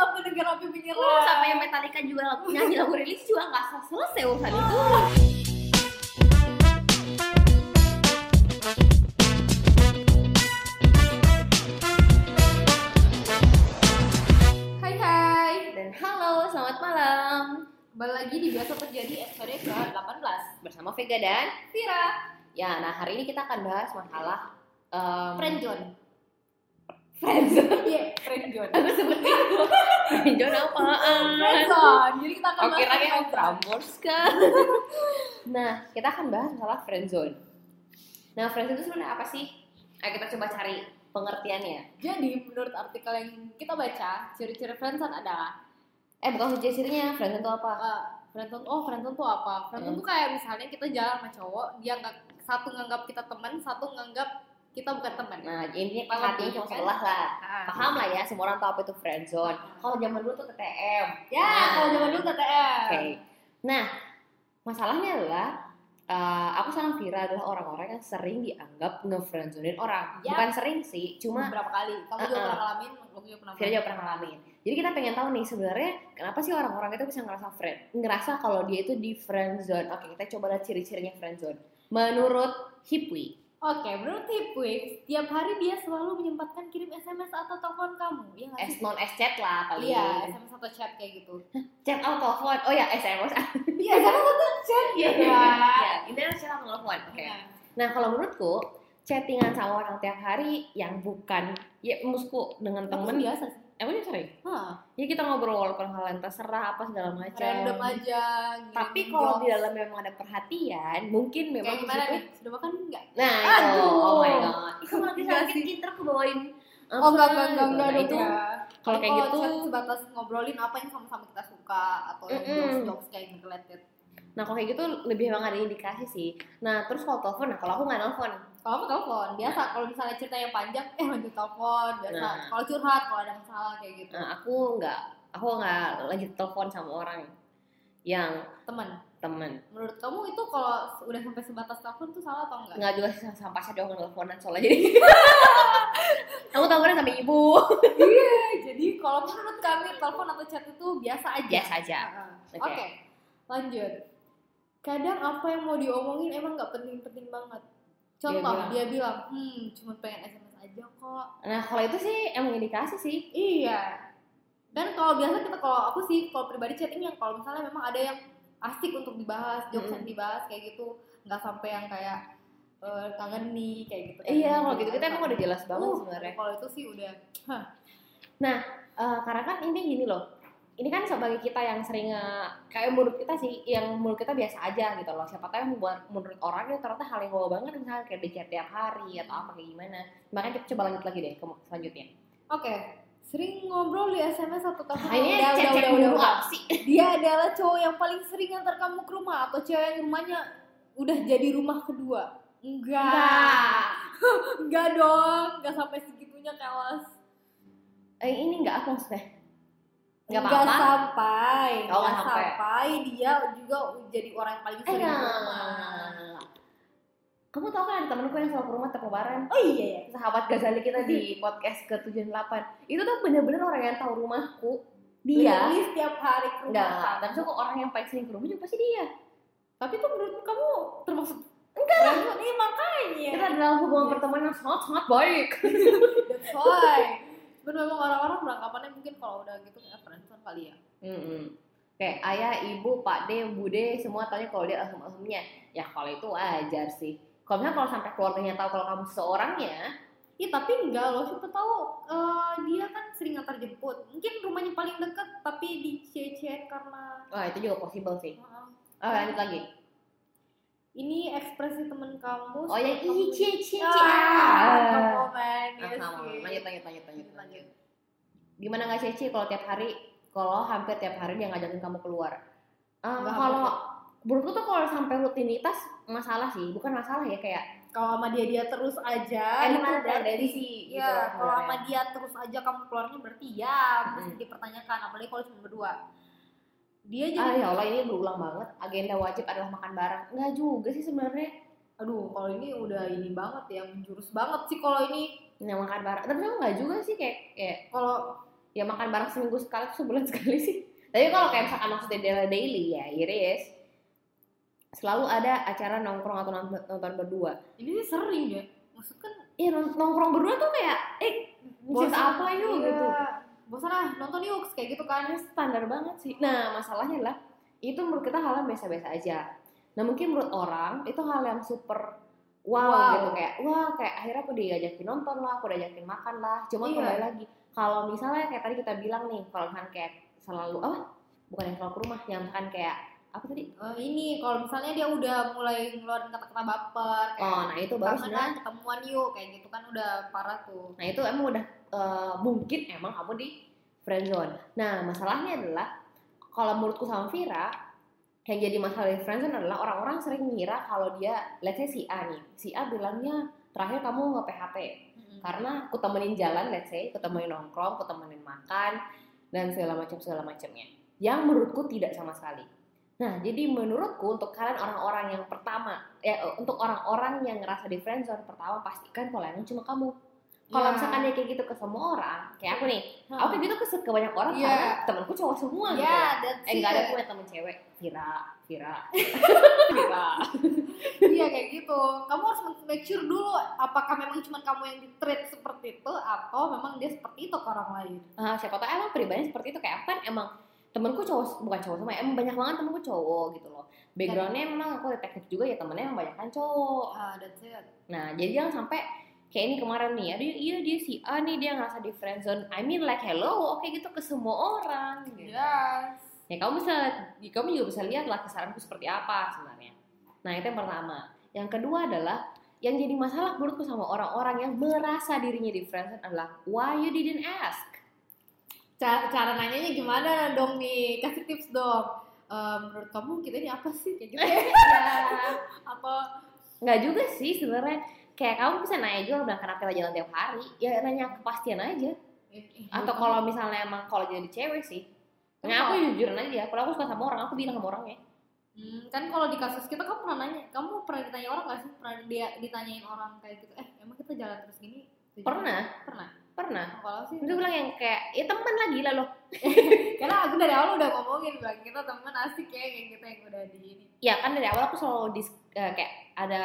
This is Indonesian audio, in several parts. sampai menyerah. Uh, sampai Metallica juga lagu nyanyi lagu rilis juga nggak sel- selesai urusan itu. Hai hai. Dan halo, selamat malam Kembali lagi di biasa terjadi episode ke-18. bersama Vega dan Vira, ya. Nah hari ini kita akan bahas masalah um, friend John. friendzone. Iya, friend John. Aku sebut itu friendzone apaan? Friend John. Jadi kita akan Oke, bahas lagi yang friend zone. Prambors kan? nah, kita akan bahas masalah friendzone. Nah, friendzone itu sebenarnya apa sih? Ayo kita coba cari pengertiannya. Jadi menurut artikel yang kita baca, ciri-ciri friendzone adalah Eh, bukan ciri-cirinya, friendzone itu apa? eh, friend zone. Oh, friend zone tuh apa? Friend zone Hmm. tuh kayak misalnya kita jalan sama cowok, dia nggak satu nganggap kita teman, satu nganggap kita bukan teman. Nah, intinya Paham hatinya dulu, cuma kan? sebelah lah. Ah. Paham lah ya, semua orang tahu apa itu friendzone. Kalau zaman dulu tuh TTM. Ya, Nah. kalau zaman dulu KTM. Oke. Nah, masalahnya adalah eh, aku sama Vira adalah orang-orang yang sering dianggap ngefriendzonein orang. Ya. Bukan sering sih, cuma berapa kali? Kamu juga Uh-uh. pernah ngalamin, aku juga pernah. Vira juga pernah ngalamin. Jadi kita pengen tahu nih sebenarnya kenapa sih orang-orang itu bisa ngerasa friend, ngerasa kalau dia itu di friendzone. Oke, kita coba lihat ciri-cirinya friendzone. Menurut Hipwi, Oke, menurut Hipwix, tiap hari dia selalu menyempatkan kirim SMS atau telepon kamu, iya nggak S sih? non S chat lah paling. Iya, SMS atau chat kayak gitu. Chat atau telepon. Oh ya, SMS. Iya, SMS atau chat Iya. ya. Iya, intinya chat atau telepon. Oke. Nah, Nah, kalau menurutku chattingan sama orang tiap hari yang bukan ya musku dengan Temen temen biasa sih. emang dia sering Hah, ya kita ngobrol walaupun hal yang terserah apa segala macam random aja. ngirim tapi kalau di jokes. dalam memang ada perhatian mungkin memang kayak di gimana situ- nih? Sudah makan nggak? Nah, itu. Aduh. Oh my god. Itu malah Iya kita sakit sih. kita aku bawain. apa, Oh enggak enggak enggak gitu. enggak Nah, dong, itu ya. kalau Tapi kayak gitu. chat sebatas ngobrolin apa yang sama-sama kita suka atau yang Mm-mm. jokes-jokes kayak gitu, yang related. Nah, kalau kayak gitu lebih emang ada indikasi sih. Nah, terus kalau telepon, nah kalau aku nggak nelpon. Kalau aku telepon, biasa kalau misalnya cerita yang panjang eh lanjut telepon, biasa. Nah. Kalau curhat, kalau ada masalah kayak gitu. Nah, aku nggak aku nggak lanjut telepon sama orang yang Teman, temen menurut kamu itu kalau udah sampai sebatas telepon tuh salah atau enggak? nggak juga sih sama pacar doang nelfonan soalnya jadi aku teleponan sama ibu Iya, Jadi kalau menurut kami telepon atau chat itu biasa aja. biasa aja Heeh. Ah, Oke. Ya. Oke. Lanjut. Kadang apa yang mau diomongin emang nggak penting-penting banget. Contoh bilang. dia bilang, "Hmm, cuma pengen SMS aja kok." nah kalau itu sih emang indikasi sih Iya. Dan kalau biasa kita kalau aku sih kalau pribadi chatting yang kalau misalnya memang ada yang asik untuk dibahas, jokes Mm-mm. yang dibahas kayak gitu, nggak sampai yang kayak eh, kangen nih kayak gitu. iya kalau gitu kita emang udah jelas banget Uh, sebenarnya Kalau itu sih udah Eh, karena kan ini gini loh ini kan sebagai kita yang sering eh, kayak menurut kita sih yang menurut kita biasa aja gitu loh siapa tahu yang buat menurut orang itu ternyata hal yang wow banget misalnya kayak di chat tiap hari atau apa kayak gimana makanya kita coba lanjut lagi deh ke selanjutnya Oke, sering ngobrol di SMS atau telepon. nah, ini udah, chat chat udah, udah, dulu udah. apa sih Dia adalah cowok yang paling sering antar kamu ke rumah atau cewek yang rumahnya udah jadi rumah kedua. Enggak, Enggak. enggak dong, enggak sampai segitunya kelas. eh, ini enggak aku maksudnya enggak Enggak apa-apa sampai, enggak Oh, enggak sampai. sampai dia juga jadi orang yang paling sering ke rumah. Enak. Kamu tau kan ada temenku yang selalu ke rumah tiap lebaran Oh iya ya. Sahabat Ghazali kita di podcast ke-78 Itu tuh bener-bener orang yang tahu rumahku Dia Beli setiap hari ke rumah. Iya. Enggak, tapi tuh kok orang yang paling sering ke rumah juga pasti dia Tapi itu menurut kamu termasuk enggak lah. Iya makanya. Kita adalah hubungan pertemanan yang sangat-sangat baik That's why. Cuman memang orang-orang beranggapannya mungkin kalau udah gitu kayak friendzone kali ya. Mm-mm. Kayak ayah, ibu, pak de, bude, semua tanya kalau dia asem-asemnya Ya kalau itu wajar sih Kalau misalnya kalau sampai keluarganya tahu kalau kamu seorangnya Iya tapi enggak loh, siapa tahu eh, dia kan sering antar jemput. Mungkin rumahnya paling deket tapi dicecein karena Wah itu juga possible sih maaf. Oh lanjut lagi Ini ekspresi temen kamu. Oh yang sama ih kamu- cie cie cie Ah, Ah. kamu main, Ah, iya sama. sih. lanjut lanjut lanjut lanjut Lanjut. gimana nggak cece kalau tiap hari kalau hampir tiap hari dia ngajakin kamu keluar Eh, Nggak kalau menurutku tuh kalau sampai rutinitas masalah sih bukan masalah ya kayak Kalau sama dia dia terus aja. emang itu ada berarti- tendensi Ah, gitu Iya, kalau sebenarnya. sama dia terus aja kamu keluarnya berarti ya mesti Mm. dipertanyakan apalagi kalau cuma berdua. Dia ah jadi ya Allah ini berulang banget agenda wajib adalah makan bareng nggak juga sih sebenarnya aduh kalau ini udah ini banget ya menjurus banget sih kalau ini nah, makan bareng tapi sebenarnya nggak juga sih kayak kayak kalau ya makan bareng seminggu sekali tuh sebulan sekali sih tapi kalau kayak misalkan maksudnya daily, daily ya iris selalu ada acara nongkrong atau nont- nonton berdua ini sih sering ya maksud kan Iya nong- nongkrong berdua tuh kayak eh bosan cerita apa yuk iya, gitu bosan ah nonton yuk kayak gitu kan Karena standar banget sih nah masalahnya adalah itu menurut kita hal yang biasa-biasa aja nah mungkin menurut orang itu hal yang super wow, Wow. gitu kayak wah kayak akhirnya aku diajakin nonton lah aku diajakin makan lah cuman Iya. kembali lagi kalau misalnya kayak tadi kita bilang nih kalau misalkan kayak selalu apa bukan yang selalu ke rumah yang misalkan kayak apa tadi Eh, ini kalau misalnya dia udah mulai ngeluarin kata-kata baper kayak oh nah itu baru "Kangen sebenarnya ah, ketemuan yuk kayak gitu kan udah parah tuh Nah itu emang udah eh, mungkin emang kamu di friendzone. Nah masalahnya adalah kalau menurutku sama Vira yang jadi masalah di friendzone adalah orang-orang sering ngira kalau dia, let's say si A nih, si A bilangnya terakhir kamu nge PHP karena aku temenin jalan, let's say, aku temenin nongkrong, aku temenin makan dan segala macam segala macamnya. Yang menurutku tidak sama sekali. Nah, jadi menurutku untuk kalian orang-orang yang pertama, ya untuk orang-orang yang ngerasa di friendzone pertama pastikan kalau yang cuma kamu Iya. Ya. kalau misalkan dia kayak gitu ke semua orang kayak aku nih aku kayak gitu ke, ke banyak orang Iya. karena temanku cowok semua ya gitu that's eh nggak ada it. aku punya temen cewek Vira Vira Vira iya kayak gitu kamu harus make sure dulu apakah memang cuma kamu yang di treat seperti itu atau memang dia seperti itu ke orang lain Ah, siapa tau emang pribadinya seperti itu kayak aku kan emang temenku cowok bukan cowok semua emang banyak banget temenku cowok gitu loh backgroundnya memang aku detektif juga ya temennya emang banyak kan cowok ah that's it Nah, jadi jangan sampai kayak ini kemarin nih, aduh iya dia si A nih dia ngerasa di friendzone. I mean like hello, oke gitu ke semua orang. Gitu. yes Ya kamu bisa, kamu juga bisa lihat lah kesaranku seperti apa sebenarnya. Nah itu yang pertama. Yang kedua adalah yang jadi masalah menurutku sama orang-orang yang merasa dirinya di friendzone adalah why you didn't ask. cara, cara nanyanya gimana dong nih kasih tips dong Eh, menurut kamu kita ini apa sih kayak gitu ya? Ya, apa nggak juga sih sebenarnya. Kayak kamu bisa nanya juga bilang kenapa kita jalan tiap hari, ya nanya kepastian aja. eh, eh, atau kalau misalnya emang kalau jadi cewek sih Nah, aku jujuran aja, kalau aku suka sama orang, aku bilang sama orangnya Hmm, kan kalau di kasus kita kamu pernah nanya, kamu pernah ditanya orang gak sih? Pernah dia ditanyain orang kayak gitu, eh emang kita jalan terus gini? Pernah, Pernah. pernah Kalau sih, Terus aku bilang yang kayak, ya temen lah gila loh karena aku dari awal udah ngomongin bilang kita temen asik ya kayak gitu yang udah di ini. Ya kan dari awal aku selalu dis, eh, kayak ada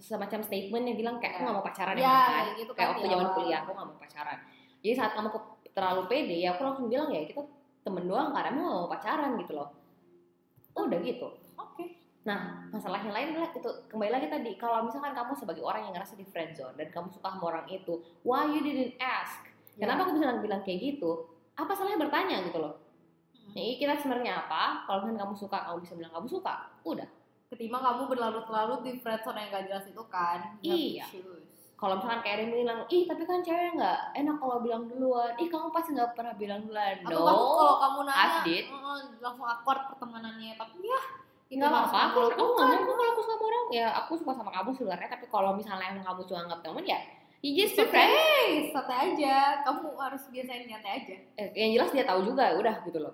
semacam statement yang bilang kayak aku gak mau pacaran ya, Ya, kan kayak gitu Kayak kan. waktu zaman kuliah, aku gak mau pacaran Jadi saat kamu ke- terlalu pede, ya aku langsung bilang ya kita temen doang karena emang gak mau pacaran gitu loh Udah gitu Oke. Nah, masalahnya lain adalah itu kembali lagi tadi kalau misalkan kamu sebagai orang yang ngerasa di friend zone dan kamu suka sama orang itu, why you didn't ask? Iya. Kenapa aku bisa bilang kayak gitu? Apa salahnya bertanya gitu loh? Hmm. Nih, kita sebenarnya apa? Kalau misalkan kamu suka, kamu bisa bilang kamu suka. Udah. Ketimbang kamu berlarut-larut di friendzone yang gak jelas itu kan. gak Iya. becus. Kalau misalkan kayak Remy bilang, ih tapi kan cewek nggak enak kalau bilang duluan. Ih kamu pasti nggak pernah bilang duluan. Iya Atau No. kamu kalau kamu nanya, ask it. "Mm, mm," langsung akur pertemanannya, tapi ya gitu Nggak apa-apa. Aku, langsung aku melakukan. ngomong kok kalau aku suka sama orang. Ya aku suka sama kamu sebenarnya. Tapi kalau misalnya emang kamu cuma anggap teman ya, you just be friends. Hey, santai aja. Kamu harus biasain nyantai aja. eh, yang jelas dia tahu juga udah gitu loh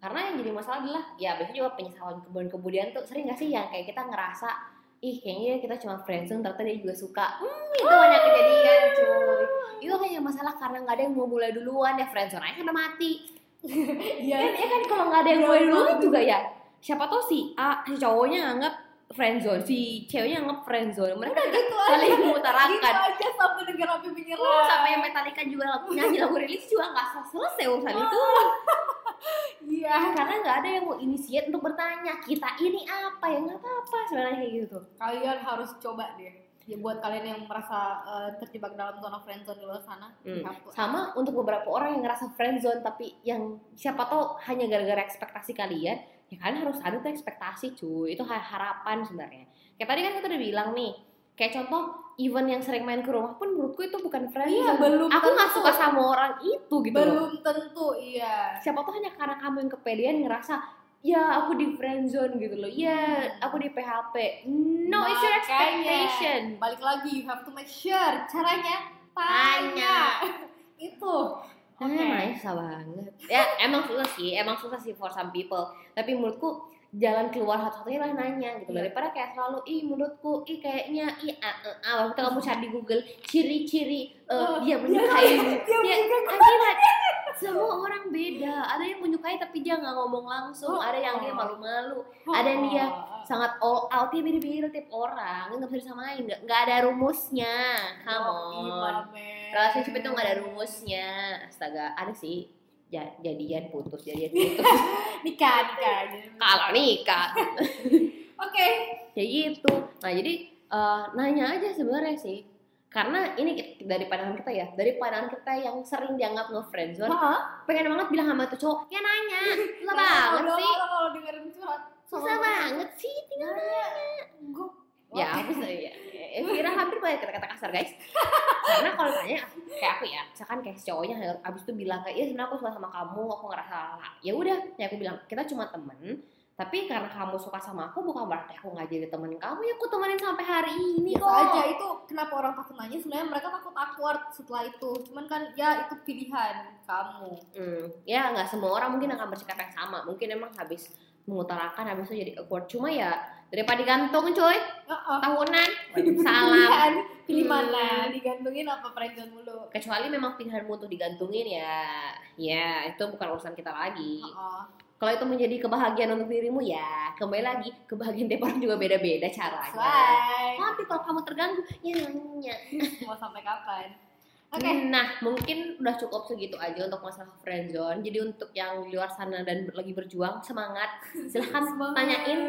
karena yang jadi masalah adalah ya biasanya juga penyesalan kemudian kemudian tuh sering gak sih yang kayak kita ngerasa ih kayaknya kita cuma friendzone ternyata dia juga suka hmm, itu banyak kejadian cuy itu hanya masalah karena nggak ada yang mau mulai duluan ya friendzone aja kena mati kan Iya. ya kan kalau nggak ada yang mulai duluan juga ya siapa tahu si A si cowoknya anggap friendzone si ceweknya anggap friendzone mereka gitu saling Gitu mengutarakan aja sampai negara api Oh, menyerang. sampai Metallica juga lagu nyanyi lagu rilis juga nggak selesai urusan itu Iya. karena nggak ada yang mau inisiat untuk bertanya kita ini apa ya nggak apa-apa sebenarnya kayak gitu tuh Kalian harus coba deh. Ya, buat kalian yang merasa eh, terjebak dalam zona friendzone di luar sana, Hmm. dihapus. sama untuk beberapa orang yang ngerasa friendzone tapi yang siapa tahu hanya gara-gara ekspektasi kalian ya kalian harus ada tuh ekspektasi cuy itu ha- harapan sebenarnya kayak tadi kan kita udah bilang nih kayak contoh event yang sering main ke rumah pun menurutku itu Iya, bukan friendzone belum aku nggak tentu. suka sama orang itu gitu loh Belum tentu, iya. siapa tahu hanya karena kamu yang kepedean ngerasa ya aku di friendzone gitu loh ya aku di PHP no it's your Makanya. expectation Balik lagi, you have to make sure. Caranya tanya. Itu. Ah, makanya susah banget. Ya emang susah sih, emang susah sih for some people. Tapi menurutku jalan keluar satu-satunya lah nanya gitu Iya. daripada kayak selalu ih menurutku ih kayaknya ih ah, eh, ah waktu kamu cari di Google ciri-ciri eh, Oh, dia dia menyukai Iya, Dia dia juga I feel like semua orang beda ada yang menyukai tapi dia nggak ngomong Oh. langsung ada yang dia malu-malu Ada yang dia ya." sangat all out ya beda-beda tiap orang nggak bisa disamain nggak nggak ada rumusnya Oh, come on relationship itu nggak ada rumusnya astaga ada sih Ja- jadian putus jadian putus nikah nikah gitu. kalau nikah oke ya gitu nah jadi eh, nanya aja sebenarnya sih karena ini ki- dari pandangan kita ya dari pandangan kita yang sering dianggap ngefriendzone Hah? pengen banget bilang sama tuh cowok ya nanya Iya, susah banget Kalau sih orang kalau dengerin curhat susah banget sih tinggal nanya Gua- ya aku sih ya Vira hampir banyak kata-kata kasar guys karena kalau tanya kayak aku ya misalkan kayak si cowoknya harus- abis itu bilang kayak iya sebenarnya aku suka sama kamu aku ngerasa lala ya udah ya aku bilang kita cuma temen tapi karena kamu suka sama aku bukan berarti aku nggak jadi temen kamu ya aku temenin sampai hari ini biasa kok aja itu kenapa orang takut nanya sebenarnya mereka takut awkward setelah itu cuman kan ya itu pilihan kamu Hmm, ya nggak semua orang mungkin akan bersikap yang sama mungkin emang habis mengutarakan habis itu jadi awkward cuma ya daripada digantung coy Heeh. tahunan Jadi salam pilihan pilih Hmm. mana digantungin apa friendzone mulu kecuali memang pilihanmu untuk digantungin ya ya itu bukan urusan kita lagi Heeh. kalau itu menjadi kebahagiaan untuk dirimu ya kembali lagi kebahagiaan tiap orang juga beda-beda That's caranya why. tapi kalau kamu terganggu ya nanya mau sampai kapan oke Nah, mungkin udah cukup segitu aja untuk masalah friendzone. Jadi untuk yang di luar sana dan ber- lagi berjuang, semangat. Silahkan Semangat. Hmm. tanyain,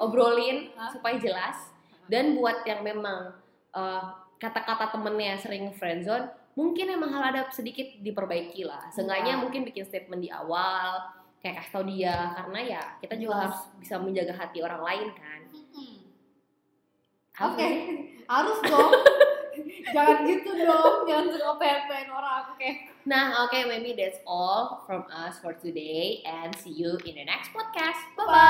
obrolin Hah? supaya jelas. Dan buat yang memang eh, kata-kata temennya sering friendzone, mungkin emang hal ada sedikit diperbaiki lah. Seenggaknya Iya. mungkin bikin statement di awal, kayak kasih tau dia. Karena ya kita juga Jelas. harus bisa menjaga hati orang lain kan. Mm-mm. Harus Oke, gak sih? harus dong. jangan gitu dong, jangan suka PMPN orang. Oke, Nah, oke, maybe that's all from us for today, and see you in the next podcast. Bye bye.